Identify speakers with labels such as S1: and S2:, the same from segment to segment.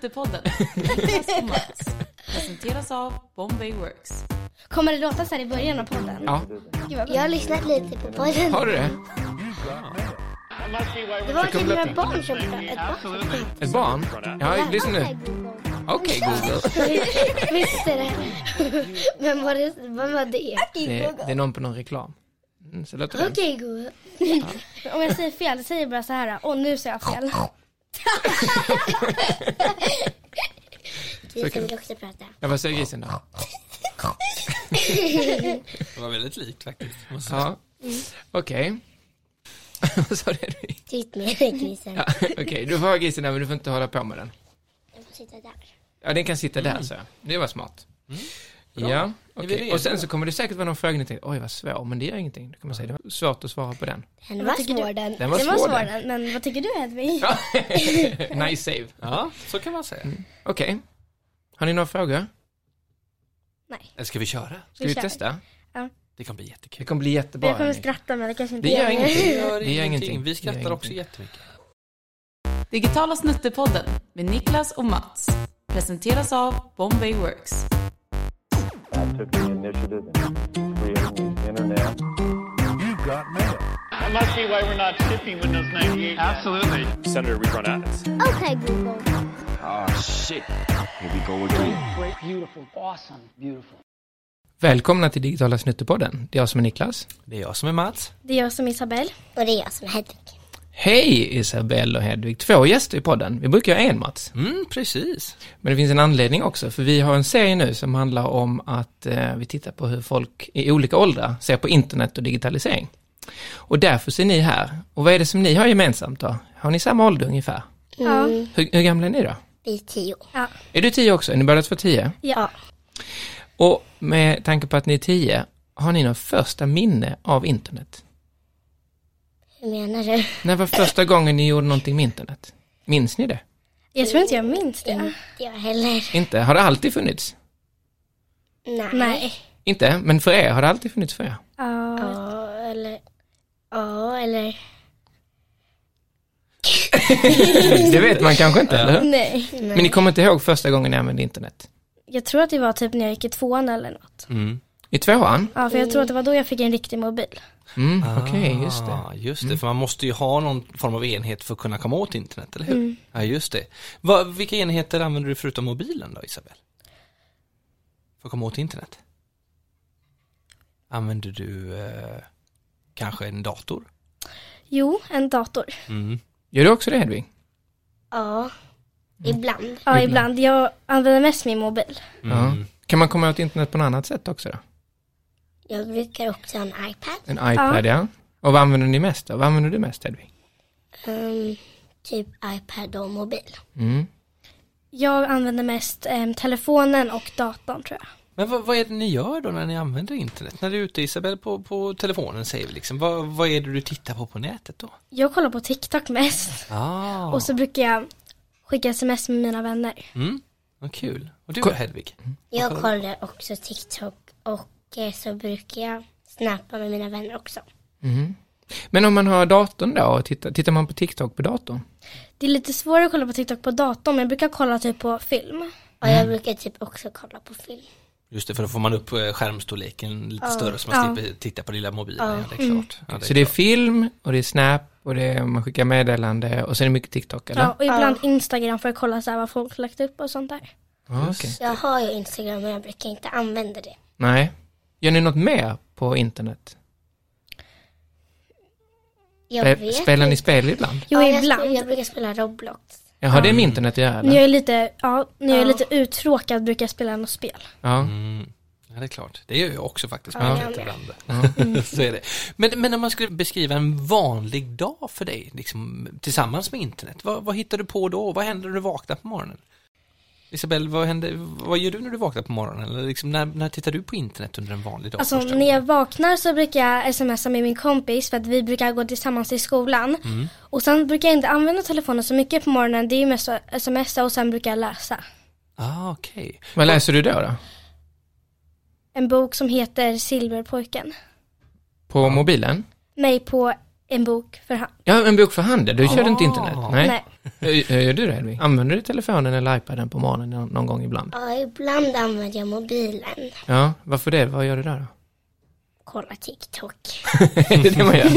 S1: Jättepodden. Niklas och Mats. Presenteras av Bombay Works.
S2: Kommer det låta så här i början av podden?
S3: Ja,
S2: Gud, vad bra.
S4: Jag har lyssnat lite på podden.
S3: har du det?
S4: Det var
S2: typ
S4: till några barn som pratade. Ett barn som pratade.
S3: Ett barn? Ja, lyssna nu. Okej, Google.
S4: Visste det? Vem var det? Vem var det?
S3: Det är, det är någon på någon reklam. Mm, så låter det.
S4: Okej, Google.
S2: Om jag säger fel, säg bara så här. Åh, nu säger jag fel.
S4: Vi kan också prata.
S3: Ja, vad säger grisen då?
S5: Det var väldigt likt faktiskt. Måste jag säga.
S3: Ja, okej. Vad sa du?
S4: Sitt ner grisen.
S3: Ja, Okej, du får ha grisen där men du får inte hålla på med den.
S4: Jag får sitta där.
S3: Ja, den kan sitta där så. Det var smart.
S5: Mm.
S3: Ja,
S5: Är vi
S3: okej.
S5: redo?
S3: Och sen så kommer det säkert vara någon fråga ni tänker, oj vad svår, men det gör ingenting. Det kommer säga, det var svårt att svara på den.
S4: Den var svår den.
S3: Den var
S2: Det var
S3: svår
S2: svår
S3: den.
S2: den, men vad tycker du Hedvig?
S3: Ja. nice save. Mm.
S5: ja, så kan man säga.
S3: Okej. Har ni några frågor?
S5: Eller ska vi köra?
S3: Ska vi,
S2: Vi kör.
S3: testa?
S5: Det kommer bli
S3: Det
S5: jättekul.
S3: kommer bli jättebra.
S2: Jag kommer
S3: hörni.
S2: skratta men det kanske inte
S3: Det gör ingenting.
S5: Det
S3: Det gör ingenting.
S5: Vi
S3: Det
S5: skrattar
S3: gör
S5: också
S3: ingenting.
S5: jättemycket.
S1: Digitala snuttepodden med Niklas och Mats. Presenteras av Bombay Works.
S6: I took the initiative in creating the internet.
S7: I must see why we're not shipping Windows 98. Absolutely.
S8: Senator, we run ads.
S4: Okej, Google.
S3: Välkomna till Digitala Snuttepodden. Det är jag som är Niklas.
S5: Det är jag som är Mats.
S2: Det är jag som är Isabelle.
S4: Och det är jag som är Hedvig.
S3: Hej Isabelle och Hedvig. Två gäster i podden. Vi brukar ha en Mats.
S5: Mm, precis.
S3: Men det finns en anledning också, för vi har en serie nu som handlar om att eh, vi tittar på hur folk i olika åldrar ser på internet och digitalisering. Och därför ser ni här. Och vad är det som ni har gemensamt då? Har ni samma ålder ungefär?
S2: Ja.
S3: Hur, hur gamla är ni då?
S4: Vi är tio.
S2: Ja.
S3: Är du tio också? Är ni båda två tio?
S2: ja.
S3: Och med tanke på att ni är tio, har ni något första minne av internet?
S4: Hur menar du?
S3: När var första gången ni gjorde någonting med internet? Minns ni det?
S2: Jag tror inte jag minns det.
S3: Mm.
S4: Inte jag heller.
S3: Inte? Har det alltid funnits?
S4: Nej.
S2: Nej.
S3: Inte? Men för er, har det alltid funnits för er?
S2: Ja.
S4: Ja, eller... Ja, eller...
S3: Det vet man kanske inte, eller hur?
S2: Nej.
S3: Men ni kommer inte ihåg första gången ni använde internet?
S2: Jag tror att det var typ när jag gick i tvåan eller något.
S3: I tvåan?
S2: Ja, för jag tror att det var då jag fick en riktig mobil.
S3: Mm, okej, just det. Mm.
S5: Ah, just det, för man måste ju ha någon form av enhet för att kunna komma åt internet, eller hur?
S3: Mm.
S5: Ja, just det. Va, vilka enheter använder du förutom mobilen då, Isabel? För att komma åt internet? Använder du eh, kanske en dator? Mm.
S2: Jo, en dator.
S3: Gör du också det, Hedvig?
S4: Ja. Ibland.
S2: Ja, ibland. Jag använder mest min mobil.
S5: Mm.
S3: Ja. Kan man komma åt internet på något annat sätt också då?
S4: Jag brukar också ha en iPad.
S3: En iPad, ja. Och vad använder ni mest då? Vad använder du mest, Hedvig?
S4: Ehm, typ iPad och mobil.
S3: Mm.
S2: Jag använder mest em, telefonen och datorn tror jag.
S5: Men vad, vad är det ni gör då när ni använder internet? När du är ute Isabel på, på telefonen säger vi liksom, vad, vad är det du tittar på på nätet då?
S2: Jag kollar på TikTok mest.
S5: Ah,
S2: Och så brukar jag skicka sms med mina vänner.
S5: mm, vad kul. Och du då Hedvig?
S3: Mm.
S4: Jag kollar också TikTok och eh, så brukar jag snappa med mina vänner också.
S3: Men om man har datorn då, och tittar, tittar man på TikTok på datorn?
S2: Det är lite svårare att kolla på TikTok på datorn, men jag brukar kolla typ på film.
S4: Och jag brukar typ också kolla på film.
S5: Just det, för då får man upp eh, skärmstorleken lite större så man
S2: Ja. Mm.
S5: slipper titta på lilla mobilen. Ja, det är klart. Ja, det
S3: Så
S5: är...
S3: det är film och det är Snap och det är, man skickar meddelande och sen är det mycket TikTok eller?
S2: Ja, och ibland Instagram för att kolla så här vad folk lagt upp och sånt där.
S3: Ja, okej.
S4: Jag har ju Instagram men jag brukar inte använda det.
S3: Nej. Gör ni något mer på internet?
S4: Jag
S3: Spe-
S4: vet
S3: Eh, Spelar ni spel ibland?
S2: Jo,
S4: Ja, jag,
S2: ibland.
S4: spe- jag brukar spela Roblox.
S3: Ja, har det med internet att göra?
S2: När
S3: eller?
S2: jag är lite, ja, när jag är lite uttråkad brukar jag spela något spel.
S3: Ja.
S5: Mm. ja, det är klart. Det gör jag också faktiskt.
S4: Ja,
S5: Men
S4: jag
S5: lite
S4: med.
S5: ibland. så är det. Men, men om man skulle beskriva en vanlig dag för dig, liksom, tillsammans med internet, vad, vad hittar du på då? Vad händer när du vaknar på morgonen? Isabel, vad, händer, vad gör du när du vaknar på morgonen? Eller liksom, när, när tittar du på internet under en vanlig dag?
S2: Alltså
S5: första
S2: när
S5: gången?
S2: jag vaknar så brukar jag smsa med min kompis för att vi brukar gå tillsammans i skolan. Och sen brukar jag inte använda telefonen så mycket på morgonen, det är ju mest att smsa och sen brukar jag läsa.
S5: Ah, okej.
S3: Vad läser du då? då?
S2: En bok som heter Silverpojken.
S3: På mobilen?
S2: Mig på en bok för hand.
S3: Ja, en bok för hand. Du körde inte internet? Nej.
S2: Nej.
S3: Hur hur gör du det Hedvig? Använder du telefonen eller iPaden på morgonen någon, någon gång ibland?
S4: Ja, ibland använder jag mobilen.
S3: Ja, varför det? Vad gör du där då?
S4: Kollar TikTok.
S3: Är det det man gör?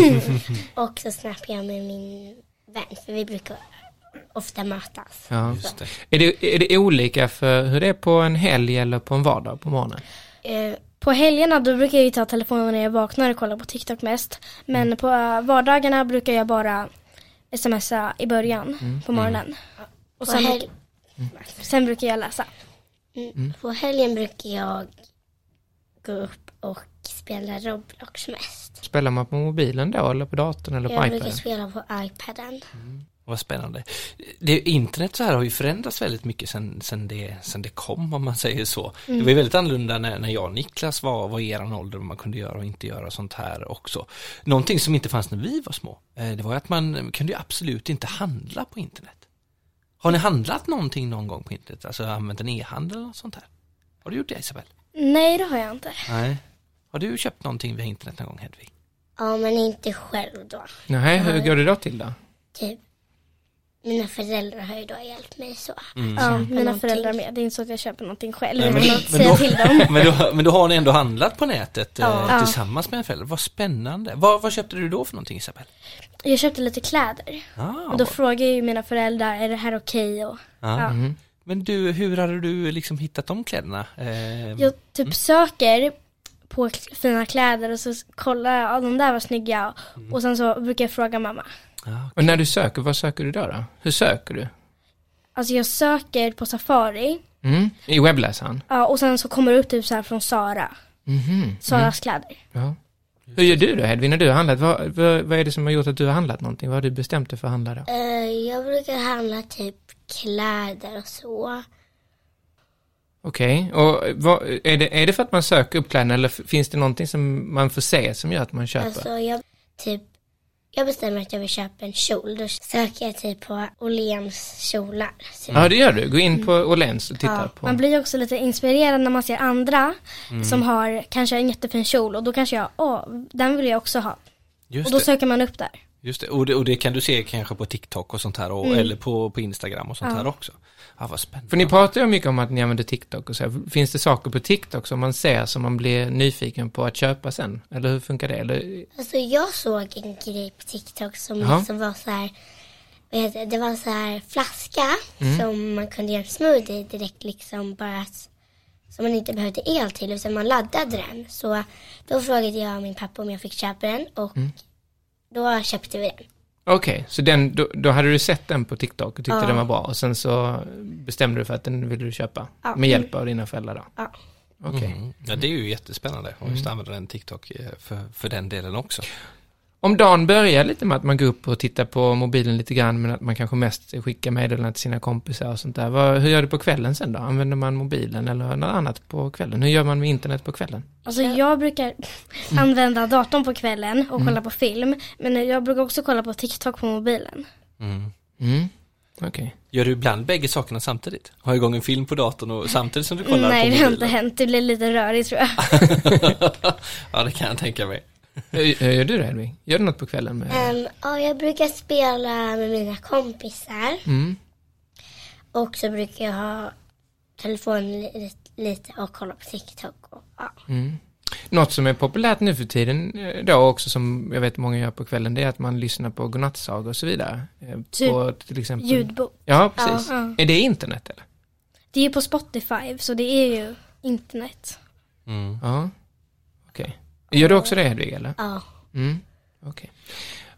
S4: Och så snappar jag med min vän, för vi brukar ofta mötas.
S3: Ja.
S5: Just det.
S3: Är, det, är det olika för hur det är på en helg eller på en vardag på morgonen?
S4: Eh,
S2: På helgerna då brukar jag ju ta telefonen när jag vaknar och kolla på TikTok mest. Men på eh, vardagarna brukar jag bara smsa i början på morgonen. Och
S4: på,
S2: sen,
S4: hel- mm,
S2: sen brukar jag läsa.
S3: Mm.
S4: på helgen brukar jag gå upp och spela Roblox mest.
S3: Spelar man på mobilen då eller på datorn eller på
S4: Jag brukar
S3: iPaden?
S4: spela på iPaden.
S5: Vad spännande. Det, internet så här har ju förändrats väldigt mycket sen, sen, det, sen det kom om man säger så. Det var ju väldigt annorlunda när, när jag och Niklas var, var i eran ålder vad man kunde göra och inte göra och sånt här också. Någonting som inte fanns när vi var små, eh, det var ju att man kunde ju absolut inte handla på internet. Har ni handlat någonting någon gång på internet? Alltså använt en e-handel eller något sånt här? Har du gjort det Isabel?
S2: Nej, det har jag inte.
S5: Nej. Har du köpt någonting via internet någon gång Hedvig?
S4: Ja, men inte själv då.
S3: Nej, hur går det då till då?
S4: Typ. Mina föräldrar har ju då hjälpt mig så.
S2: Ja, mina
S4: någonting.
S2: föräldrar med. Det är inte så att jag köper någonting själv.
S5: Mm. Nej,
S2: Nej,
S5: men-
S2: men,
S5: men
S2: säga
S5: då-
S2: till dem.
S5: Men då, men då har ni ändå handlat på nätet eh,
S2: Ja.
S5: tillsammans med en förälder. Vad spännande. Vad, vad köpte du då för någonting Isabel?
S2: Jag köpte lite kläder.
S5: Ah,
S2: Och då frågar jag ju mina föräldrar, är det här okej? Och
S5: ja.
S2: ja.
S5: ah.
S3: Mm.
S5: Men du, hur hade du liksom hittat de kläderna? Eh,
S2: Jag typ söker på k- fina kläder och så s- kollar jag, ja de där var snygga.
S5: Mm.
S2: Och sen så brukar jag fråga mamma.
S5: ja.
S3: Och när du söker, vad söker du då? då? Hur söker du?
S2: Alltså jag söker på Safari
S3: Mm. I webbläsaren?
S2: ja, och sen så kommer det upp typ så här från Sara.
S3: Mhm.
S2: Saras
S5: Mm.
S2: kläder.
S3: Ja. Hur gör du då Hedvig när du har handlat? Vad, vad, vad är det som har gjort att du har handlat någonting? Vad har du bestämt dig för att handla då?
S4: Eh, jag brukar handla typ kläder och så.
S3: Okej, och vad, är, det, är det för att man söker upp kläderna eller f- finns det någonting som man får se som gör att man köper?
S4: Alltså jag typ jag bestämmer att jag vill köpa en kjol. Då söker jag typ på Åhléns kjolar. Så
S3: Ja, det gör du. Gå in på Åhléns och titta
S4: Ja,
S3: på.
S2: Man blir ju också lite inspirerad när man ser andra
S5: Mm.
S2: som har kanske en jättefin kjol och då kanske jag, åh, den vill jag också ha.
S5: Just,
S2: Och då
S5: det.
S2: söker man upp där.
S5: Just det. Och, det. och det kan du se kanske på TikTok och sånt här
S2: Mm.
S5: och, eller på, på Instagram och sånt här också. Ja, vad spännande.
S3: För ni pratar ju mycket om att ni använder TikTok och så. här. Finns det saker på TikTok som man ser som man blir nyfiken på att köpa sen? Eller hur funkar det? Eller,
S4: Alltså jag såg en grej på TikTok som
S3: Jaha.
S4: liksom var så här. vad heter det, Det var så här flaska som man kunde göra en smoothie direkt liksom bara att- som man inte behövde el till utan man laddade den. Så då frågade jag min pappa om jag fick köpa den och då köpte vi den.
S3: Okej, så den, då, då hade du sett den på TikTok och tyckte den var bra och sen så bestämde du för att den ville du köpa med hjälp av dina föräldrar då?
S4: Ja.
S3: Okej. Mm.
S5: Mm. Ja, det är ju jättespännande. Och just använda den TikTok eh, för, för den delen också.
S3: Om dagen börjar lite med att man går upp och tittar på mobilen lite grann men att man kanske mest skickar meddelanden till sina kompisar och sånt där. Vad, hur gör du på kvällen sen då? Använder man mobilen eller något annat på kvällen? Hur gör man med internet på kvällen?
S2: Alltså jag brukar
S4: Mm.
S2: använda datorn på kvällen och kolla på film. Men jag brukar också kolla på TikTok på mobilen.
S5: Mm.
S3: Mm. Okej.
S5: Gör du ibland bägge sakerna samtidigt? Har igång en film på datorn och samtidigt som du kollar
S2: Nej
S5: på
S2: det har inte
S5: mobilen?
S2: hänt, det blir lite rörigt tror jag.
S5: ja, det kan jag tänka mig.
S3: Hur- hur Gör du det Hedvig? Gör du något på kvällen? Med...
S4: Ehm, ja, jag brukar spela med mina kompisar
S3: Mm.
S4: och så brukar jag ha telefonen li- lite och kolla på TikTok. Och, ja.
S3: Mm. Något som är populärt nu för tiden eh, då också som jag vet många gör på kvällen det är att man lyssnar på godnattsagor och så vidare. Eh,
S2: Typ
S3: på till exempel...
S2: Ljudbok.
S3: Ja, precis.
S2: Ja, ja.
S3: Är det internet eller?
S2: Det är ju på Spotify så det är ju internet.
S5: Mm.
S3: Ja. Okej. Gör du också det Hedvig eller?
S4: Ja.
S3: Mm. Okej.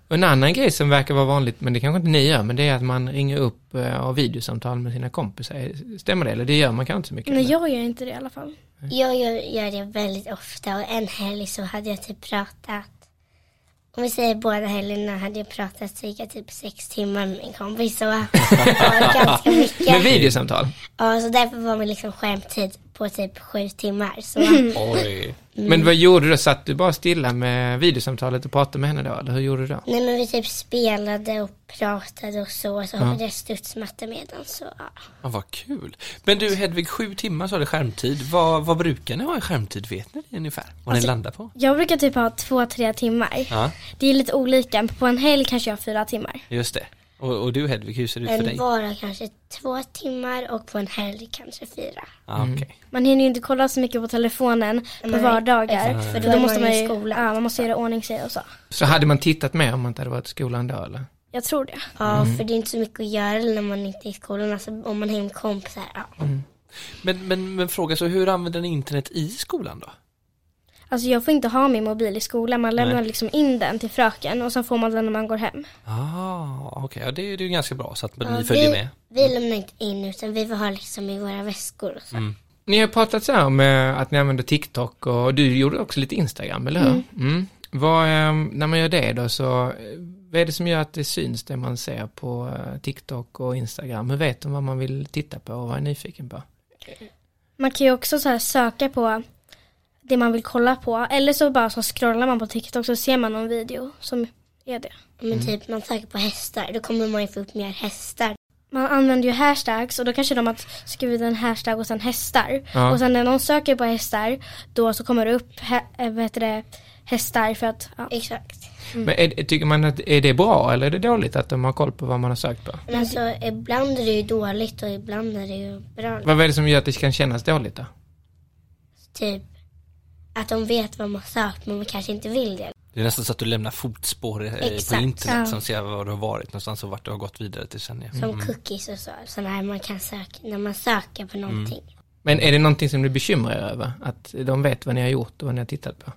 S3: Och En annan grej som verkar vara vanligt, men det kanske inte ni gör, men det är att man ringer upp eh, och har videosamtal med sina kompisar. Eh, Stämmer det? Eller det gör man kanske inte så mycket?
S2: Nej
S3: eller?
S2: jag gör inte det i alla fall.
S4: Jag gör, gör det väldigt ofta och en helg så hade jag typ pratat, om vi säger båda helgerna hade jag pratat cirka typ sex timmar med min kompis. Så det var ganska
S3: Med
S4: mycket.
S3: videosamtal?
S2: Mm.
S4: Ja, så därför var min liksom skärmtid på typ sju timmar. Så
S5: Mm. Oj.
S3: Men vad gjorde du då? Satt du bara stilla med videosamtalet och pratade med henne då? Eller hur gjorde du då?
S4: Nej men vi typ spelade och pratade och så, och så hoppade jag studsmatta med den så ja.
S5: Ja, vad kul. Men du Hedvig, sju timmar sa du skärmtid. Vad, vad brukar ni ha i skärmtid? Vet ni det ungefär? Vad
S4: Alltså-
S5: ni landar på?
S2: Jag brukar typ ha två, tre timmar.
S5: Ja,
S2: Det är lite olika, på en helg kanske jag har fyra timmar.
S5: just det. Och, och du Hedvig, hur ser det ut för
S4: En
S5: dig?
S4: vardag kanske två timmar och på en helg kanske fyra.
S5: Ah, okej.
S2: Man hinner ju inte kolla så mycket på telefonen på
S4: Nej,
S2: vardagar.
S4: exakt,
S2: för
S4: för
S2: då,
S4: då är
S2: måste
S4: man
S2: man
S4: ju
S2: ju,
S4: i skolan.
S2: ja, man måste göra i ordning sig och så.
S3: Så hade man tittat mer om man inte hade varit i skolan då eller?
S2: Jag tror det.
S4: Ja,
S5: Mm.
S4: för det är inte så mycket att göra när man inte är i skolan. Alltså om man hänger med kompisar, ja.
S5: Men, men, men fråga så, hur använder ni internet i skolan då?
S2: Alltså jag får inte ha min mobil i skolan, man lämnar
S5: Nej.
S2: liksom in den till fröken och sen får man den när man går hem.
S5: Ah, okej, ja, det, är- det är ju ganska bra så att
S4: ja
S5: ni följer
S4: vi,
S5: med.
S4: Vi lämnar inte in utan vi får ha liksom i våra väskor och så.
S3: Ni har pratat så här om eh, att ni använder TikTok och du gjorde också lite Instagram, eller hur? Mm. Vad, eh, när man gör det då, så eh, vad är det som gör att det syns det man ser på eh, TikTok och Instagram? Hur vet de vad man vill titta på och vad är nyfiken på?
S2: Man kan ju också så här söka på det man vill kolla på eller så bara så scrollar man på TikTok så ser man någon video som är det.
S5: Mm.
S4: Men typ man söker på hästar, då kommer man ju få upp mer hästar.
S2: Man använder ju hashtags och då kanske de har skrivit en hashtag och sen hästar.
S3: Ja.
S2: Och sen när någon söker på hästar då så kommer det upp hä- eh, vad heter det, hästar för att ja.
S4: Exakt.
S3: Men är, tycker man att är det bra eller är det dåligt att de har koll på vad man har sökt på?
S2: Mm.
S4: Men alltså ibland är det ju dåligt och ibland är det ju bra.
S3: Vad är det som gör att det kan kännas dåligt då?
S4: Typ att de vet vad man sökt men man kanske inte vill det.
S5: Det är nästan så att du lämnar fotspår eh, på
S4: Exakt,
S5: internet
S2: ja.
S5: som ser var du har varit någonstans och vart du har gått vidare till sen. Ja.
S4: Som cookies och så. Sådana här man kan söka, när man söker på någonting.
S3: Men är det någonting som du bekymrar er över? Att de vet vad ni har gjort och vad ni har tittat på?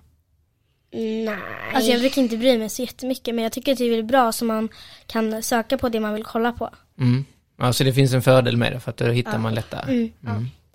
S4: Nej.
S2: Alltså jag brukar inte bry mig så jättemycket men jag tycker att det är väl bra så man kan söka på det man vill kolla på.
S3: Mm. Alltså det finns en fördel med det för att då hittar man lättare.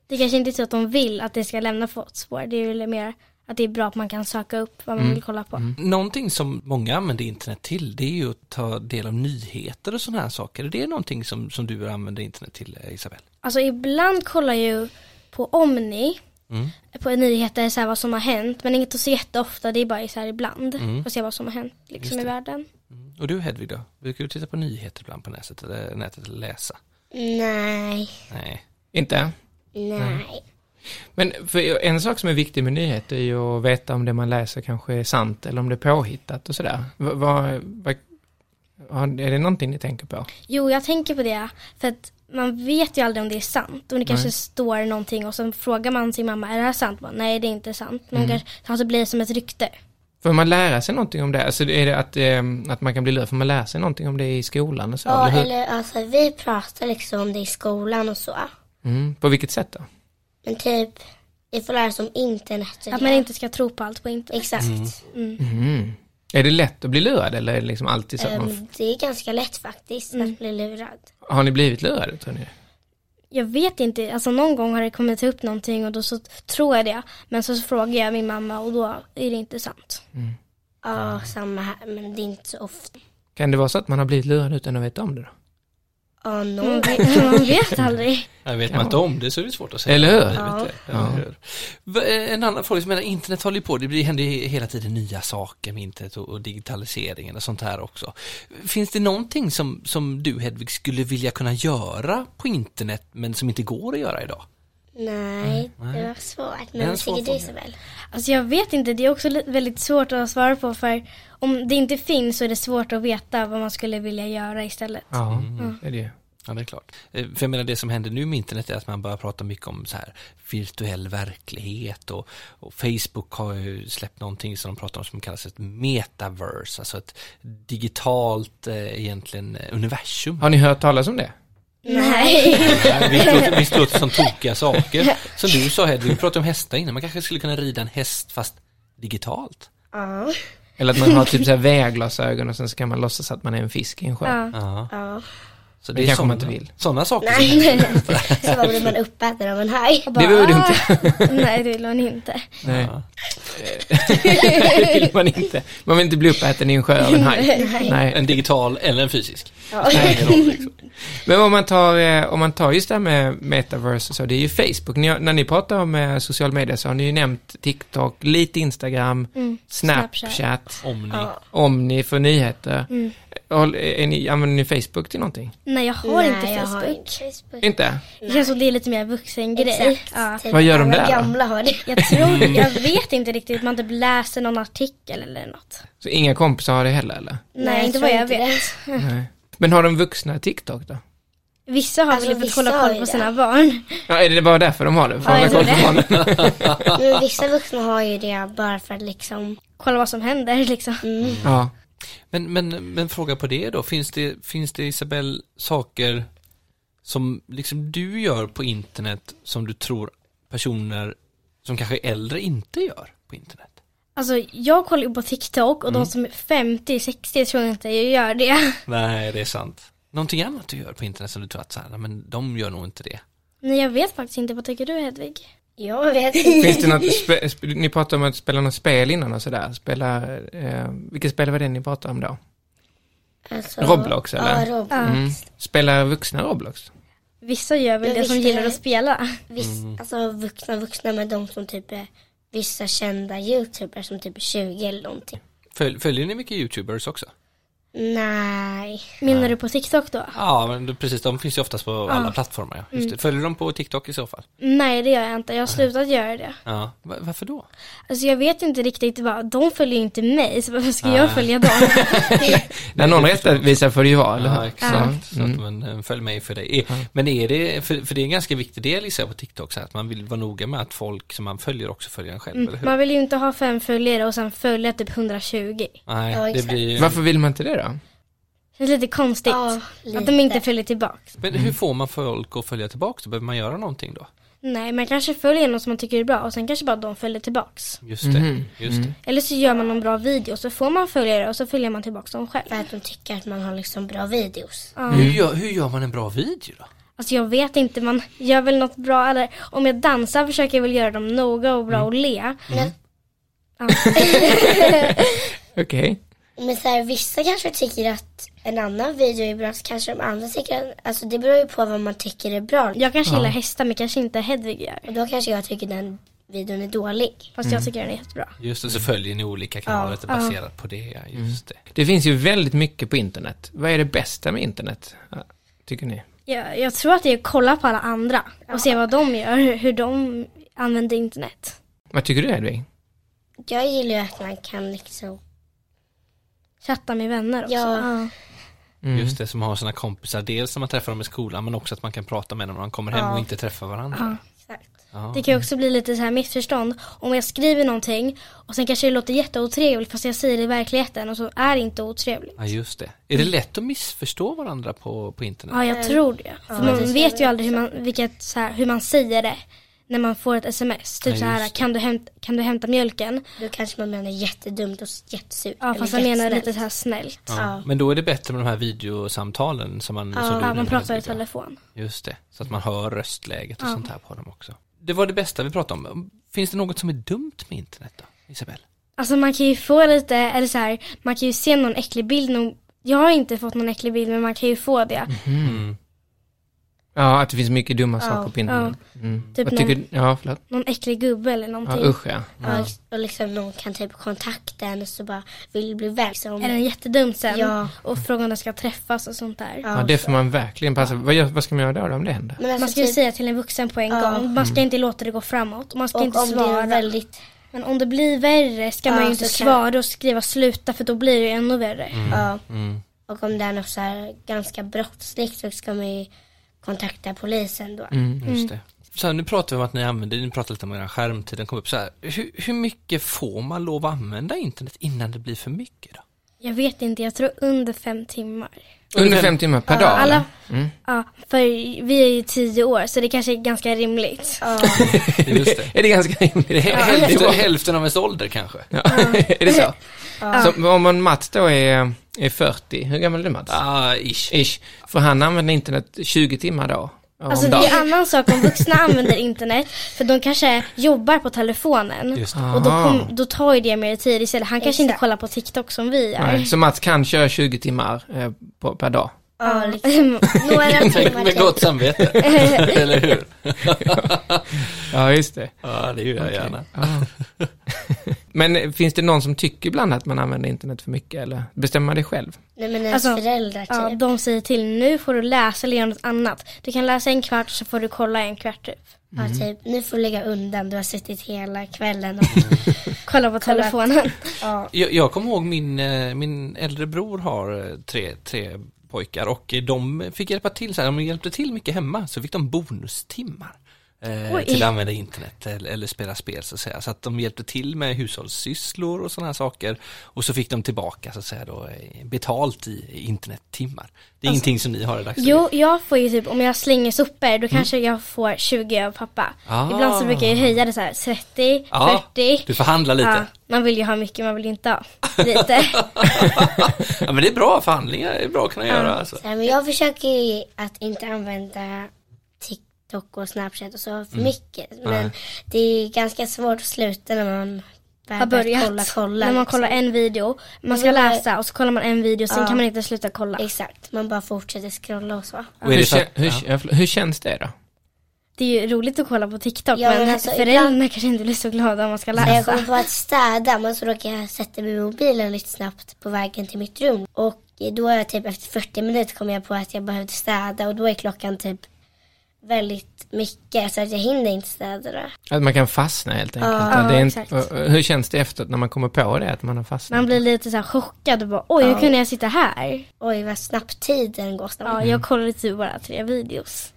S2: Det kanske inte är så att de vill att det ska lämna fotspår. Det är väl mer att det är bra att man kan söka upp vad man vill kolla på.
S5: Mm. Någonting som många använder internet till det är ju att ta del av nyheter och sådana här saker. Är det någonting som, som du använder internet till eh, Isabel?
S2: Alltså ibland kollar jag ju på Omni,
S5: Mm.
S2: på nyheter, så här vad som har hänt. Men inget så jätteofta, det är bara så här ibland. Och se vad som har hänt liksom i världen.
S5: Och du Hedvig då? Brukar du titta på nyheter ibland på nätet eller, nätet eller läsa?
S4: Nej.
S5: Nej.
S3: Inte?
S4: Nej.
S3: Men för en sak som är viktig med nyheter är ju att veta om det man läser kanske är sant eller om det är påhittat och sådär. Va, va, va, har- är det någonting ni tänker på?
S2: Jo, jag tänker på det. För att man vet ju aldrig om det är sant. Om det kanske står någonting och sen frågar man sin mamma, är det här sant? Man, Nej, det är inte sant. Man kanske, alltså blir det som ett rykte.
S3: Får man lära sig någonting om det? Alltså är det att, eh, att man kan bli lurad? Får man lära sig någonting om det i skolan och så?
S4: Ja,
S3: hur?
S4: eller alltså vi pratar liksom om det i skolan och så.
S3: Mm, på vilket sätt då?
S4: Men typ, vi får lära oss om internet. och
S2: Att
S4: det.
S2: man inte ska tro på allt på internet.
S4: Exakt.
S3: Mm. Är det lätt att bli lurad eller är det liksom alltid så? att man f-
S4: Ehm, det är ganska lätt faktiskt
S2: Mm.
S4: att bli lurad.
S3: Har ni blivit lurade tror ni?
S2: Jag vet inte, alltså någon gång har det kommit upp någonting och då så tror jag det. Men så frågar jag min mamma och då är det inte sant.
S4: Ja,
S3: Mm.
S4: samma här. Men det är inte så ofta.
S3: Kan det vara så att man har blivit lurad utan att veta om det då?
S4: Ja, någon
S2: Man
S4: gång.
S2: vet, man vet aldrig.
S5: Jag vet
S3: Kan
S5: man inte om det så är det svårt att säga.
S3: Eller hur?
S5: Jag vet det. Eller hur? Va- eh, En annan fråga som jag menar, internet håller ju på, det blir- händer ju hela tiden nya saker med internet och och digitaliseringen och sånt här också. Finns det någonting som, som du Hedvig skulle vilja kunna göra på internet men som inte går att göra idag?
S4: Nej, det var svårt.
S5: är
S4: Men
S5: en
S4: vad
S5: svår
S4: tycker du
S5: fråga.
S4: Isabel?
S2: Alltså jag vet inte, det är också li- väldigt svårt att svara på för om det inte finns så är det svårt att veta vad man skulle vilja göra istället.
S3: Ja, det är det ju.
S5: Ja, det är klart. Eh, För jag menar det som händer nu med internet är att man börjar prata mycket om så här virtuell verklighet och, och Facebook har ju släppt någonting som de pratar om som kallas ett metaverse, alltså ett digitalt eh, egentligen eh, universum.
S3: Har ni hört talas om det?
S4: Nej.
S5: Nej, Visst låter, visst låter det som tokiga saker. Som du sa Hedvig, vi pratade om hästar innan, man kanske skulle kunna rida en häst fast digitalt.
S4: Ja.
S3: Eller att man har typ så här VR-glasögon och sen ska man låtsas att man är en fisk i en sjö.
S2: Ja.
S5: Ja.
S4: Ja.
S5: Så
S3: Det kanske
S5: sådana-
S3: man inte vill.
S5: Sådana saker.
S4: Nej. så vad blir man uppäten av en haj?
S3: Det vill du inte.
S2: "Ah!" Nej, det vill hon inte.
S3: Nej. det vill man inte. Man vill inte bli uppäten i en sjö av en haj. Nej.
S5: En digital eller en fysisk.
S3: Men om man tar, eh, om man tar just det här med metaverse och så, det är ju Facebook. Ni, har- när ni pratar om eh, social media så har ni ju nämnt TikTok, lite Instagram, Mm. Snapchat, Mm.
S5: Om ni.
S3: Omni för nyheter. Håll- eh, Är ni, använder ni Facebook till någonting?
S2: Nej, jag har inte
S4: Nej, jag har
S2: Facebook.
S4: inte Facebook.
S3: Inte?
S2: Det känns som det är lite mer vuxen grej.
S4: Exakt.
S2: Ja.
S4: Typ
S3: Vad gör de
S4: alla
S3: där då?
S4: gamla har det.
S2: Jag tror, jag vet inte riktigt, man typ läser någon artikel eller något.
S3: Så inga kompisar har det heller eller?
S2: Nej,
S4: jag
S2: inte
S4: tror
S2: vad jag
S4: inte
S2: vet.
S3: Nej. Men har de vuxna TikTok då?
S2: Vissa har
S4: Alltså,
S2: väl för att
S4: vissa
S2: hålla
S4: har
S2: koll
S4: ju
S2: på
S4: det.
S2: sina barn.
S3: Ja, är det bara därför de har det? För
S2: Ja,
S3: att
S2: jag
S3: hålla
S2: tror
S3: koll på barnen?
S4: Men vissa vuxna har ju det bara för att liksom,
S2: Kolla vad som händer liksom.
S4: mm.
S3: Ja.
S5: Men, men, men fråga på det då, finns det, finns det Isabel saker som liksom du gör på internet som du tror personer som kanske är äldre inte gör på internet?
S2: Alltså jag kollar ju på TikTok och
S4: Mm.
S2: de som är 50-60 tror jag inte jag gör det.
S5: Nej, det är sant. Någonting annat du gör på internet som du tror att så här, "Nej, men de gör nog inte det.
S2: Nej jag vet faktiskt inte, vad tycker du Hedvig?
S4: jag vet inte.
S3: Finns det något, spe, sp, ni pratade om att spela något spel innan och sådär. Spela, eh, vilket spel var det ni pratade om då?
S4: Alltså,
S3: Roblox, eller?
S4: Ja, Roblox.
S3: Mm. Spela vuxna Roblox?
S2: Vissa gör väl
S4: Ja,
S2: det som
S4: vissa
S2: gillar
S4: gör
S2: att
S4: det.
S2: spela.
S4: Viss, Alltså vuxna vuxna med de som typ är vissa kända youtubers som typ är 20 eller någonting.
S5: Följ, följer ni mycket YouTubers också?
S4: Nej.
S2: Menar du på TikTok då?
S5: Ja, men det- precis, de finns ju oftast på alla plattformar. Ja. Just det. Följer de på TikTok i så fall?
S2: Nej det gör jag inte, jag har slutat göra det.
S5: Ja. Va- Varför då?
S2: Alltså jag vet inte riktigt vad, de följer ju inte mig så varför ska jag följa dem?
S3: När någon rättvisar får det ju vara, eller hur?
S5: Ja, exakt. Så att man eh, följ med för dig. Men är det, för, för det är en ganska viktig del i sig på TikTok, så här, att man vill vara noga med att folk som man följer också följer en själv, eller hur?
S2: Man vill ju inte ha fem följare och sen följa typ 120.
S5: Nej,
S4: Ja,
S5: det
S4: exakt.
S5: blir
S3: Varför vill man inte det då?
S2: Det är lite konstigt.
S4: Ja,
S2: Att de inte
S4: lite.
S2: följer tillbaks.
S5: Men hur får man folk att följa tillbaka då? Behöver man göra någonting då?
S2: Nej, man kanske följer någon som man tycker är bra och sen kanske bara de följer tillbaks.
S5: Just det, just det.
S2: Eller så gör man någon bra video så får man följare och så följer man tillbaks dem själv.
S4: För att de tycker att man har liksom bra videos.
S5: Hur, gör, hur gör man en bra video då?
S2: Alltså jag vet inte, man gör väl något bra eller om jag dansar försöker jag väl göra dem noga och bra och le.
S3: Okej.
S4: Men så här, vissa kanske tycker att en annan video är bra, så kanske de andra tycker att, alltså det beror ju på vad man tycker är bra.
S2: Jag kanske gillar hästar men kanske inte Hedvig gör.
S4: Och då kanske jag tycker den videon är dålig.
S2: Fast jag tycker den är jättebra.
S5: Just det, så följer ni olika kanaler baserat på det, ja, just det.
S3: Det finns ju väldigt mycket på internet. Vad är det bästa med internet, ja, tycker ni?
S2: Jag, jag tror att det är att kolla på alla andra och se vad de gör, hur- hur de använder internet.
S3: Vad tycker du Hedvig?
S4: Jag gillar ju att man kan liksom,
S2: Chatta med vänner också.
S4: Ja.
S5: Just det, som har sina kompisar, dels när man träffar dem i skolan men också att man kan prata med dem när de kommer hem och inte träffar varandra.
S4: exakt.
S2: Det kan ju också bli lite så här missförstånd. Om jag skriver någonting och sen kanske det låter jätteotrevligt fast jag säger det i verkligheten och så är det inte otrevligt.
S5: Ja, just det. Är det lätt att missförstå varandra på, på internet?
S2: Ja, jag tror det. För man vet ju aldrig hur man, vilket, så här, hur man säger det när man får ett sms. Typ
S5: Ja,
S2: så här,
S5: just
S2: kan du, hämta, kan du hämta mjölken?
S4: Då kanske man menar jättedumt och jättesurt.
S2: Ja, fast
S4: eller
S2: jag menar
S4: jättesnällt.
S2: lite så här snällt. Ja,
S4: Ja.
S5: Men då är det bättre med de här videosamtalen som man... som du
S2: man
S5: nämnde,
S2: pratar i
S5: Sofia.
S2: telefon.
S5: Just det, så att man hör röstläget och sånt här på dem också. Det var det bästa vi pratade om. Finns det något som är dumt med internet då, Isabel?
S2: Alltså man kan ju få lite, eller så här, man kan ju se någon äcklig bild. Någon, jag har inte fått någon äcklig bild men man kan ju få det.
S3: Mm. Ja, att det finns mycket dumma saker på
S2: Ja,
S3: internet. Mm.
S2: typ
S3: Vad tycker
S2: någon-
S3: Ja, förlåt.
S2: någon äcklig gubbe eller någonting.
S3: Ja, usch ja.
S4: Ja, ex- och liksom någon kan typ kontakta en och så bara vill bli vän. Liksom.
S2: Är den jättedum sen?
S4: Ja.
S2: Och fråga om de ska träffas och sånt där.
S3: Ja, det får man verkligen passa Vad, gör, vad ska man göra då om det händer?
S4: Men alltså,
S2: Man ska ju
S4: typ-
S2: säga till en vuxen på en gång. Man
S3: Mm.
S2: ska inte låta det gå framåt. Och man ska
S4: och
S2: inte
S4: om det
S2: svara.
S4: är väldigt,
S2: Men om det blir värre ska
S4: Ja,
S2: man ju inte
S4: så kan-
S2: svara och skriva sluta för då blir det ju ännu värre.
S5: Mm.
S4: ja. Och om det är något så här ganska brottsligt så ska man ju kontakta polisen då.
S2: Mm.
S5: Just det. Så här, nu pratar vi om att ni använder, ni pratar lite om er skärmtid, den kom upp så här. Hur, hur mycket får man lov att använda internet innan det blir för mycket då?
S2: Jag vet inte, jag tror under fem timmar.
S3: Under fem timmar per dag?
S2: Alla,
S3: eller?
S2: ja, för vi är ju tio år så det kanske är ganska rimligt.
S5: Just det.
S3: Är det ganska rimligt?
S5: Är det hälften, hälften av ens ålder kanske?
S3: Ja. är det så? så? Om en Mats då är, är 40, hur gammal är du Mats?
S5: Ah, ish.
S3: Ish. För han använder internet 20 timmar då? Om
S2: Alltså det
S3: dagen.
S2: är en annan sak om vuxna använder internet för de kanske jobbar på telefonen.
S5: Just det.
S2: Och då,
S3: Aha.
S2: kom, då tar ju det mer tid istället. Han kanske inte
S4: Exakt.
S2: kollar på TikTok som vi gör.
S3: Nej, så Mats kan köra 20 timmar eh, på, per dag?
S4: Ja, liksom. Några
S5: Tänk
S4: timmar
S5: med
S4: till.
S5: gott samvete, eller hur?
S3: Ja, just det.
S5: Ja, det gör jag gärna.
S3: Men eh, finns det någon som tycker ibland att man använder internet för mycket eller bestämmer man det själv?
S4: Nej men ens
S2: Alltså,
S4: föräldrar typ.
S2: Ja, de säger till nu får du läsa eller göra något annat. Du kan läsa en kvart så får du kolla en kvart typ.
S4: Ja, typ, nu får du lägga undan, du har suttit hela kvällen. Och,
S2: Kolla på telefonen.
S4: ja.
S5: Jag, jag kommer ihåg min, eh, min äldre bror har eh, tre, tre pojkar och eh, de fick hjälpa till så här, de hjälpte till mycket hemma så fick de bonustimmar. Eh,
S2: Oj.
S5: till att använda internet eller, eller spela spel så att säga. Så att de hjälpte till med hushållssysslor och sådana här saker. Och så fick de tillbaka så att säga då eh, betalt i, i internettimmar. Det är ingenting som ni har i dagsläget.
S2: Jo, jag får ju typ, om jag slänger sopor, då kanske jag får 20 av pappa.
S5: Mm. Ah.
S2: Ibland så brukar jag ju höja det så här 30,
S5: Ja,
S2: 40.
S5: du förhandlar lite.
S2: Ja, man vill ju ha mycket, man vill ju inte ha lite.
S5: ja men det är bra förhandlingar, det är bra att kunna göra alltså.
S4: Så här, men jag försöker ju att inte använda TikTok och Snapchat och så för mycket. Men
S5: Mm. Nej.
S4: det är ganska svårt att sluta när man väl
S2: har börjat.
S4: Kolla, kolla,
S2: när man
S4: liksom.
S2: kollar en video, man ska
S4: vill ha-
S2: läsa och så kollar man en video, sen
S4: Ja.
S2: kan man inte sluta kolla.
S4: Exakt, man bara fortsätter scrolla och så.
S5: Och är
S3: hur,
S5: det för-
S3: kä- hur,
S5: ja.
S3: ja, förlåt, hur känns det då?
S2: Det är ju roligt att kolla på TikTok
S4: Ja,
S2: men
S4: men alltså,
S2: föräldrarna kanske inte blir så glada om man ska
S4: När jag
S2: läsa.
S4: kommer på att städa, men så råkar jag sätta mig i mobilen lite snabbt på vägen till mitt rum. Och då är jag typ efter 40 minuter kom jag på att jag behövde städa och då är klockan typ väldigt mycket så att jag hinner inte städa då.
S3: Att man kan fastna helt enkelt.
S4: Ja,
S3: Att det är inte-
S2: exakt.
S3: och- och hur känns det efteråt när man kommer på det, att man har fastnat?
S2: Man blir lite så här chockad och bara oj hur kunde jag sitta
S5: Mm.
S2: här?
S4: Oj vad snabbt tiden går snabbt.
S2: Ja, jag kollade typ bara tre videos.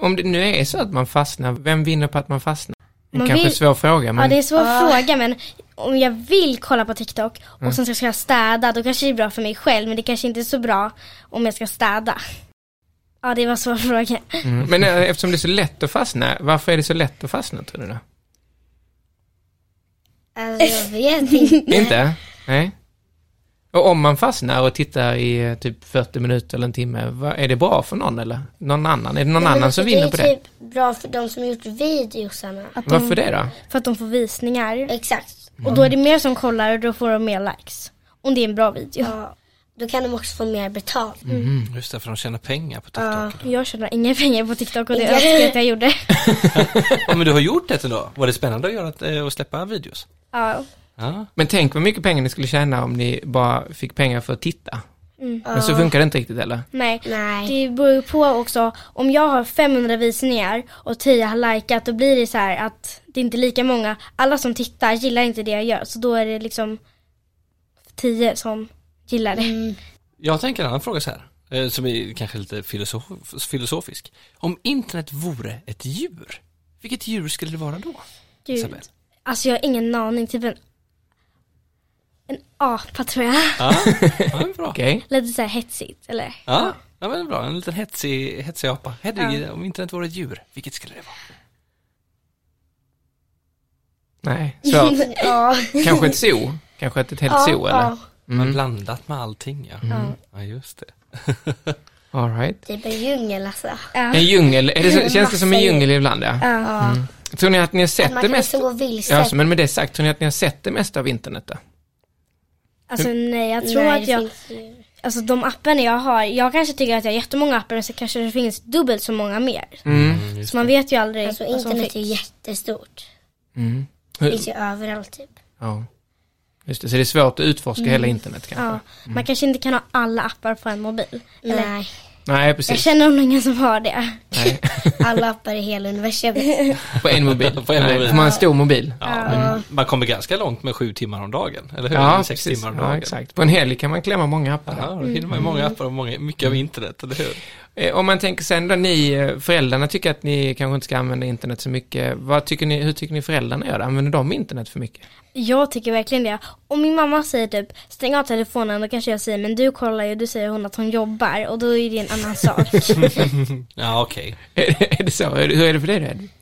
S3: Om det nu är så att man fastnar, vem vinner på att man fastnar? Det
S2: Man
S3: kanske är en
S2: vill-
S3: svår fråga, men
S2: Ja det är en svår fråga men om jag vill kolla på TikTok och sen ska jag städa då kanske det är bra för mig själv men det kanske inte är så bra om jag ska städa. Ja det var en svår fråga.
S3: Mm. Men eh, eftersom det är så lätt att fastna, varför är det så lätt att fastna tror du då?
S4: Alltså jag vet inte.
S3: Inte? Nej. Och om man fastnar och tittar i eh, typ 40 minuter eller en timme, vad, är det bra för någon eller? Någon annan? Är det någon
S4: Men
S3: annan
S4: alltså,
S3: som vinner på
S4: Det är
S3: det?
S4: typ bra för de som gjort videosarna.
S2: Att de-
S3: Varför det då?
S2: För att de får visningar.
S4: Exakt.
S2: Och då är det mer som kollar och då får de mer likes. Om det är en bra video.
S4: Ja. Då kan de också få mer betalt.
S5: Mm. Just det, för de tjänar pengar på TikTok. idag.
S2: Jag tjänar inga pengar på TikTok och det
S4: Inte.
S2: önskar jag att jag gjorde.
S5: Ja men du har gjort det ändå. Var det spännande att göra att, eh, och släppa videos?
S2: Ja.
S5: Ja.
S3: Men tänk vad mycket pengar ni skulle tjäna om ni bara fick pengar för att titta.
S4: Mm.
S3: Men så funkar det inte riktigt eller?
S2: Nej.
S4: Nej.
S2: Det beror ju på också, om jag har 500 visningar och 10 har likat då blir det så här att det är inte lika många. Alla som tittar gillar inte det jag gör så då är det liksom 10 som gillar det.
S4: Mm.
S5: Jag tänker en annan fråga så här, eh, som är kanske lite filosof- filosofisk. Om internet vore ett djur, vilket djur skulle det vara då?
S2: Gud.
S5: Isabel?
S2: Alltså jag har ingen aning, typ en, en apa tror jag.
S5: Ja, ja men bra.
S3: Okej?
S2: Lite så här hetsigt eller?
S5: Ja, ja men bra. En liten hetsig, hetsig apa. Hedvig, om internet vore ett djur, vilket skulle det vara?
S3: Nej, så
S4: Ja.
S3: Kanske ett zoo? Kanske ett helt zoo eller?
S4: ja.
S5: Man har blandat med allting ja. Ja, just det.
S3: All right.
S4: Typ en djungel alltså.
S3: En djungel, är det så, känns det som en djungel ibland ja? Mm.
S4: Ja.
S3: Tror ni att ni har sett
S4: Man
S3: det
S4: kan
S3: mest?
S4: liksom gå vilse.
S3: Ja, så, men med det sagt, tror ni att ni har sett det mesta av internet då?
S2: Alltså nej jag tror
S4: Nej,
S2: att
S4: det
S2: jag
S4: finns ju-
S2: Alltså de apparna jag har, jag kanske tycker att jag har jättemånga appar men så kanske det finns dubbelt så många mer. så man vet ju aldrig
S4: Alltså
S2: vad som
S4: internet är
S2: finns.
S4: ju jättestort.
S2: Mm.
S4: Det
S3: Hur,
S4: finns ju överallt typ.
S3: ja. Just det, så det är svårt att utforska hela internet kanske?
S2: Mm. ja. Mm. Man kanske inte kan ha alla appar på en mobil.
S4: Nej,
S3: Nej,
S2: Jag
S3: precis.
S2: känner nog ingen som har det.
S3: Nej.
S4: alla appar i hela universum.
S3: På en mobil.
S5: På en
S3: Nej,
S5: mobil.
S3: får man en stor mobil?
S5: Ja, men man kommer ganska långt med sju timmar om dagen, eller hur?
S3: Ja,
S5: Eller Sex
S3: precis.
S5: timmar om dagen.
S3: Ja, exakt. På en helg kan man klämma många appar.
S5: Ja, då hinner man ju många appar och många, mycket av internet, eller hur?
S3: Eh, Om man tänker sen då, ni eh, föräldrarna tycker att ni kanske inte ska använda internet så mycket. Vad tycker ni, hur tycker ni föräldrarna gör? Använder de internet för mycket?
S2: Jag tycker verkligen det. Om min mamma säger typ stäng av telefonen då kanske jag säger men du kollar ju, du säger hon att hon jobbar och då är det en annan sak.
S5: Ja, okej.
S3: Är det, är det så? Är det- Hur är det för dig Red?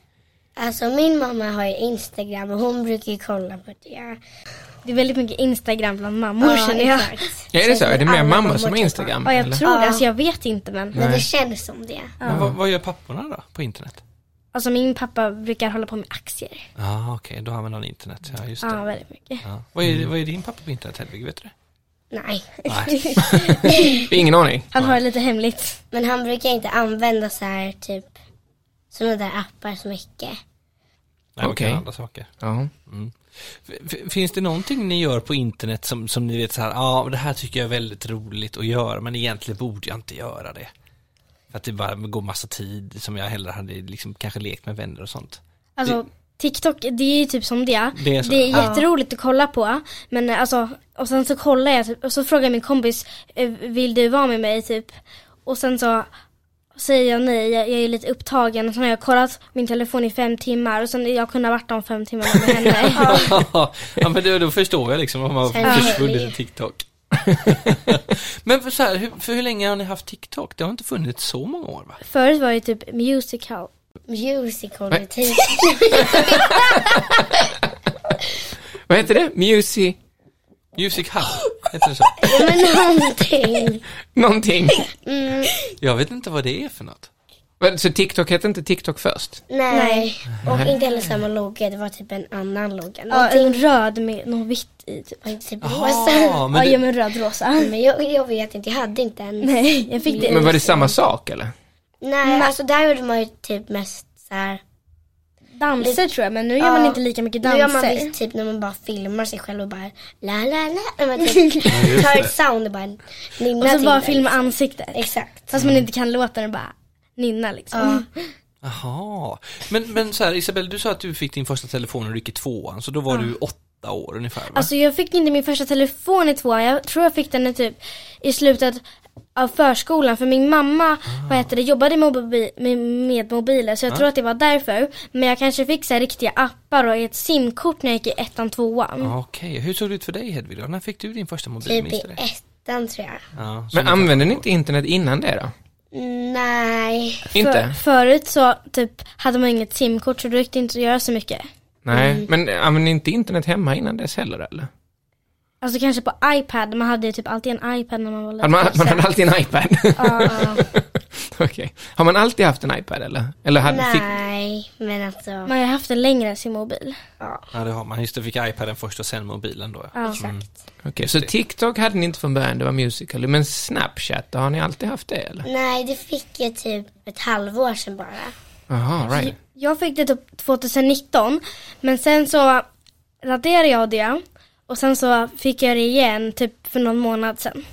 S4: Alltså min mamma har ju Instagram och hon brukar ju kolla på det.
S2: Det är väldigt mycket Instagram bland mammor känner jag.
S4: exakt.
S3: Är det så? Är det mer
S4: Alla
S3: mammor som
S4: mammor
S3: har Instagram?
S2: Ja jag
S3: eller?
S2: tror det,
S4: Ja.
S2: alltså jag vet inte men.
S4: Men det känns som det.
S5: Men vad, vad gör papporna då, på internet?
S2: Alltså min pappa brukar hålla på med aktier.
S5: Ja, okej, då använder han internet, ja just det.
S2: Ja väldigt mycket.
S5: Ja. Vad, är, vad är din pappa på internet, Hedvig, vet du det?
S4: Nej.
S5: Mm. Nej.
S3: Ingen aning.
S2: Han har det lite hemligt.
S4: Men han brukar inte använda så här typ sådana där appar så mycket.
S5: Nej,
S3: Okej.
S5: okej. Andra saker.
S3: Ja.
S5: F- f- Finns det någonting ni gör på internet som, som ni vet så här, ja ah, det här tycker jag är väldigt roligt att göra men egentligen borde jag inte göra det. För att det bara går massa tid som jag hellre hade liksom kanske lekt med vänner och sånt.
S2: Alltså TikTok, det är ju typ som det.
S5: Det är så.
S2: är jätteroligt att kolla på. Men eh, alltså, och sen så kollar jag typ, och så frågar min kompis, eh, vill du vara med mig typ? Och sen så säger jag nej, jag, jag är lite upptagen. Och sen har jag kollat min telefon i fem timmar och sen jag kunde ha varit de fem timmarna med henne. Ja.
S5: ja, men då, då förstår jag liksom om man
S4: Ja.
S5: försvunnit i TikTok. men för, så här, hur, för hur länge har ni haft TikTok? Det har inte funnits så många år va?
S2: Förut var det typ musical.
S3: Nej.
S4: Musical typ. med tid.
S3: Vad heter det? Music
S5: Music Hub, heter det så?
S4: Men någonting.
S3: någonting.
S5: Jag vet inte vad det är för något.
S3: Väl, Så TikTok hette inte TikTok först?
S4: Nej.
S2: Nej.
S4: Och inte heller samma logga, det var typ en annan logga.
S2: Ja,
S4: Någonting
S2: en röd med något vitt i typ.
S4: var typ rosa.
S5: Jaha,
S2: ja,
S5: Ah, men
S2: ja,
S5: det,
S2: men röd rosa.
S4: Men jag, jag vet inte, jag hade inte en. Nej,
S2: Nej, jag fick det.
S3: Men var det samma sak eller?
S4: alltså där gjorde man ju typ mest så här.
S2: Danser tror jag, men nu gör man
S4: Ja.
S2: inte lika mycket
S4: Nu
S2: danser.
S4: gör man visst typ när man bara filmar sig själv och bara la la la. När man typ tar ett sound och bara nynnar
S2: Och så
S4: till
S2: bara
S4: det.
S2: filma ansiktet.
S4: Exakt.
S2: Fast man inte kan låten och bara nynna liksom.
S5: aha. Men, men så här, Isabel, du sa att du fick din första telefon när du gick i tvåan, så då var du åtta år ungefär va?
S2: Alltså jag fick inte min första telefon i tvåan. Jag tror jag fick den i typ i slutet av förskolan. För min mamma, vad heter det, jobbade med, mobi- med, med mobiler. Så jag tror att det var därför. Men jag kanske fick så här riktiga appar och ett simkort när jag gick i ettan, tvåan.
S5: Ja, Ah, Okej, hur såg det ut för dig Hedvig då? När fick du din första mobil?
S4: Typ
S5: minns
S4: i
S5: du det?
S4: ettan tror jag.
S5: Ja, så
S3: Men
S5: ni-
S3: använde ni inte internet innan det då?
S4: Nej.
S2: För,
S3: Inte?
S2: förut så typ hade man inget simkort så det gick det inte att göra så mycket.
S3: Nej, men använde ni inte internet hemma innan dess heller eller?
S2: Alltså kanske på iPad, man hade ju typ alltid en iPad när man var liten.
S3: Hade man, man hade alltid en iPad? Okej. Har man alltid haft en iPad eller? Eller hade, fick,
S4: Nej, men alltså.
S2: Man har ju haft en längre än sin mobil.
S5: Ja, det har man. Just det, fick iPaden först och sen mobilen då.
S2: Ja.
S3: Mm. Okej, så TikTok hade ni inte från början, det var musical. Men Snapchat, då har ni alltid haft det eller?
S4: Nej, det fick jag typ ett halvår sedan bara.
S3: Jaha, right.
S2: Jag fick det typ 2019, men sen så raderade jag det och sen så fick jag det igen typ för någon månad sen.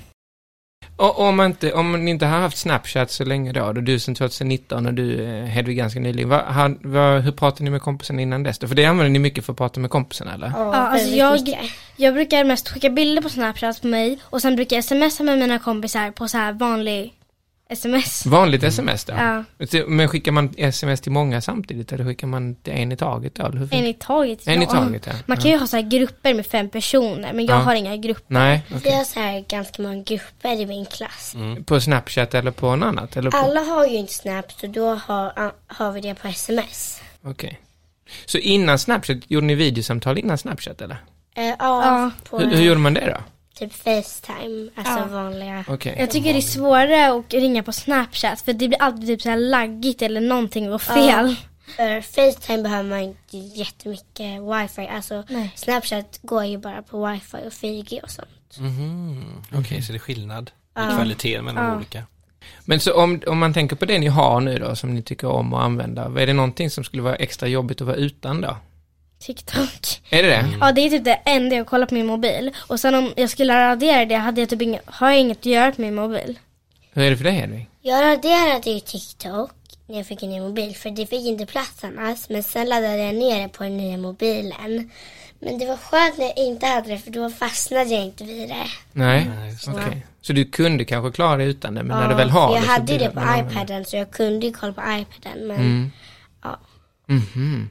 S3: Och om, man inte, om ni inte har haft Snapchat så länge då, då du sedan 2019 och du eh, Hedvig ganska nyligen, vad, han- vad, hur pratade ni med kompisen innan dess? då? För det använder ni mycket för att prata med kompisen eller?
S4: Ja,
S2: alltså
S4: väldigt
S2: jag-
S4: mycket.
S2: Jag brukar mest skicka bilder på Snapchat på mig och sen brukar jag smsa med mina kompisar på så här vanlig sms.
S3: Vanligt sms då?
S2: Ja.
S3: Så- Men skickar man sms till många samtidigt eller skickar man till en i taget då? Eller hur
S2: En
S3: funkar-
S2: i taget.
S3: En i
S2: ja.
S3: taget, ja. Mm.
S2: Man kan ju ha så här grupper med fem personer men jag
S3: Ja.
S2: har inga grupper.
S3: Nej,
S4: Vi har så här ganska många grupper i min klass.
S3: på Snapchat eller på något annat? Eller på...
S4: Alla har ju inte Snap, så då har, a- har vi det på sms.
S3: Okej. Så innan Snapchat, gjorde ni videosamtal innan Snapchat eller?
S4: Eh, ja,
S2: Ja.
S4: på
S3: Hur, hur gjorde man det då?
S4: typ Facetime, alltså
S2: Ja.
S4: vanliga.
S3: Okej.
S2: Jag tycker det är svårare att ringa på Snapchat för det blir alltid typ så här laggigt eller någonting går fel.
S4: För Eh, Facetime behöver man inte jättemycket wifi. Alltså Snapchat går ju bara på wifi och 4G och sånt.
S3: Mm.
S5: Mhm. Okej, så det är skillnad i kvaliteten mellan de olika.
S3: Men så om, om man tänker på det ni har nu då, som ni tycker om att använda, är det någonting som skulle vara extra jobbigt att vara utan då?
S2: TikTok.
S3: Är det det?
S5: Mm.
S2: Ja det är typ det enda jag kollar på min mobil. Och sen om jag skulle radera det hade jag typ inget, har jag inget att göra på min mobil.
S3: Hur är det för dig Hedvig?
S4: Jag raderade ju TikTok när jag fick en ny mobil för det fick inte plats annars. Men sen laddade jag ner det på den nya mobilen. Men det var skönt när jag inte hade det för då fastnade jag inte vid det.
S3: Nej,
S5: Nej, just det.
S3: okej. Så du kunde kanske klara dig utan det, men när du
S4: Ja,
S3: väl Mm. har
S4: för jag
S3: det så
S4: hade
S3: blir
S4: ju det
S3: att
S4: på
S3: man använder
S4: iPaden så jag kunde ju kolla på iPaden. Men
S3: Mhm.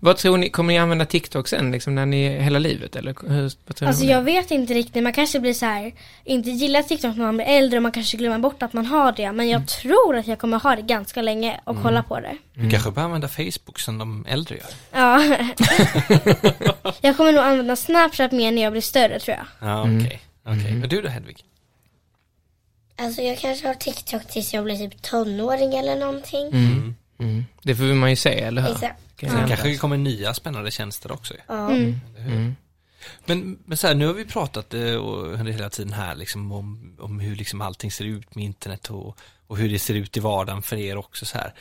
S3: Vad tror ni, kommer ni använda TikTok sen, liksom när ni, hela livet eller? Hur, vad tror
S2: Alltså
S3: ni? om
S2: jag vet inte riktigt, man kanske blir så här inte gillar TikTok när man blir äldre och man kanske glömmer bort att man har det. Men jag tror att jag kommer ha det ganska länge och kolla på det.
S5: Du kanske bör använda Facebook som de äldre gör.
S2: Ja. jag kommer nog använda Snapchat mer när jag blir större tror jag.
S5: Ja, okej. Okej, och du då Hedvig?
S4: alltså jag kanske har TikTok tills jag blir typ tonåring eller någonting. Liksom.
S3: det? Mm. Det får man ju se, eller hur?
S4: Exakt.
S3: Kan
S5: Sen
S3: jag
S5: kanske det
S3: hända.
S5: kommer nya spännande tjänster också. ju.
S4: Ja.
S2: Mm.
S5: Men, men så här, nu har vi pratat eh, och, under hela tiden här liksom, om, om hur liksom, allting ser ut med internet och, och hur det ser ut i vardagen för er också. Så här.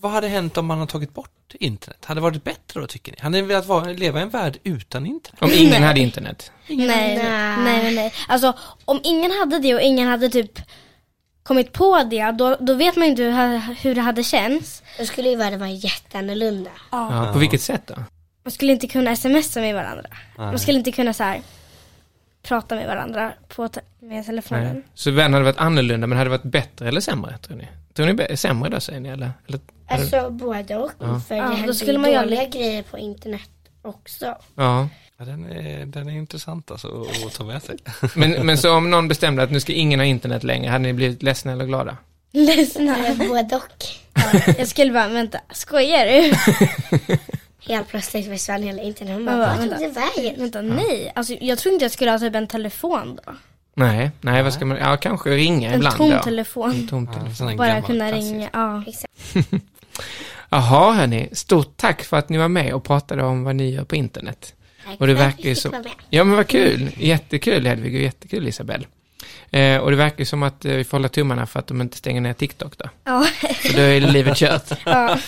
S5: Vad hade hänt om man hade tagit bort internet? Hade det varit bättre då tycker ni? Hade ni velat vara, leva i en värld utan internet?
S3: Om ingen hade internet?
S4: eh,
S5: Äh.
S2: Nej, nej, nej, nej. Alltså om ingen hade det och ingen hade typ kommit på det, då, då vet man ju inte hur, hur det hade känts.
S4: Då skulle ju världen vara jätteannorlunda.
S3: Ja, på vilket sätt då?
S2: Man skulle inte kunna smsa med varandra. Man skulle inte kunna så här prata med varandra på te- med telefonen.
S3: Nej. Så världen hade varit annorlunda, men hade det varit bättre eller sämre tror ni? Tror ni bä- sämre då säger ni eller? eller eller-
S4: Alltså både och. För
S2: Ja,
S4: det
S2: då
S4: händer
S2: skulle
S4: ju
S2: man göra
S4: dåliga grejer på internet också.
S3: ja.
S5: Ja, den, är, den är intressant alltså att- att ta med sig.
S3: Men, men så om någon bestämde att nu ska ingen ha internet längre, hade ni blivit ledsna eller glada?
S2: Lyssna.
S4: Eller både och.
S2: Jag skulle bara, vänta, skojar du?
S4: Helt plötsligt försvann hela internet. Man
S2: Ja,
S4: bara, vart
S2: vänta.
S4: tog det vägen?
S2: Vänta, nej. Alltså, jag tror inte jag skulle ha typ en telefon då.
S3: Nej, nej vad ska man, ja kanske ringa
S2: En
S3: ibland
S2: tom
S3: då.
S2: telefon.
S3: Tom
S5: Ja,
S3: telefon.
S5: sån här
S2: Bara
S5: gammal
S2: kunna
S5: klassisk.
S2: ringa, ja.
S3: Jaha hörni, stort tack för att ni var med och pratade om vad ni gör på internet.
S4: Tack
S3: Och det
S4: för att
S3: verkar
S4: vi
S3: ju
S4: fick
S3: som...
S4: vara med.
S3: Ja men vad kul, jättekul Hedvig och jättekul Isabel. Eh, och det verkar ju som att eh, vi får hålla tummarna för att de inte stänger ner TikTok då.
S2: ja.
S3: För då är livet kört.
S2: ja.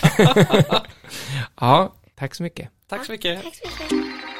S3: ja, tack så mycket.
S5: Tack så mycket.
S4: Tack så mycket.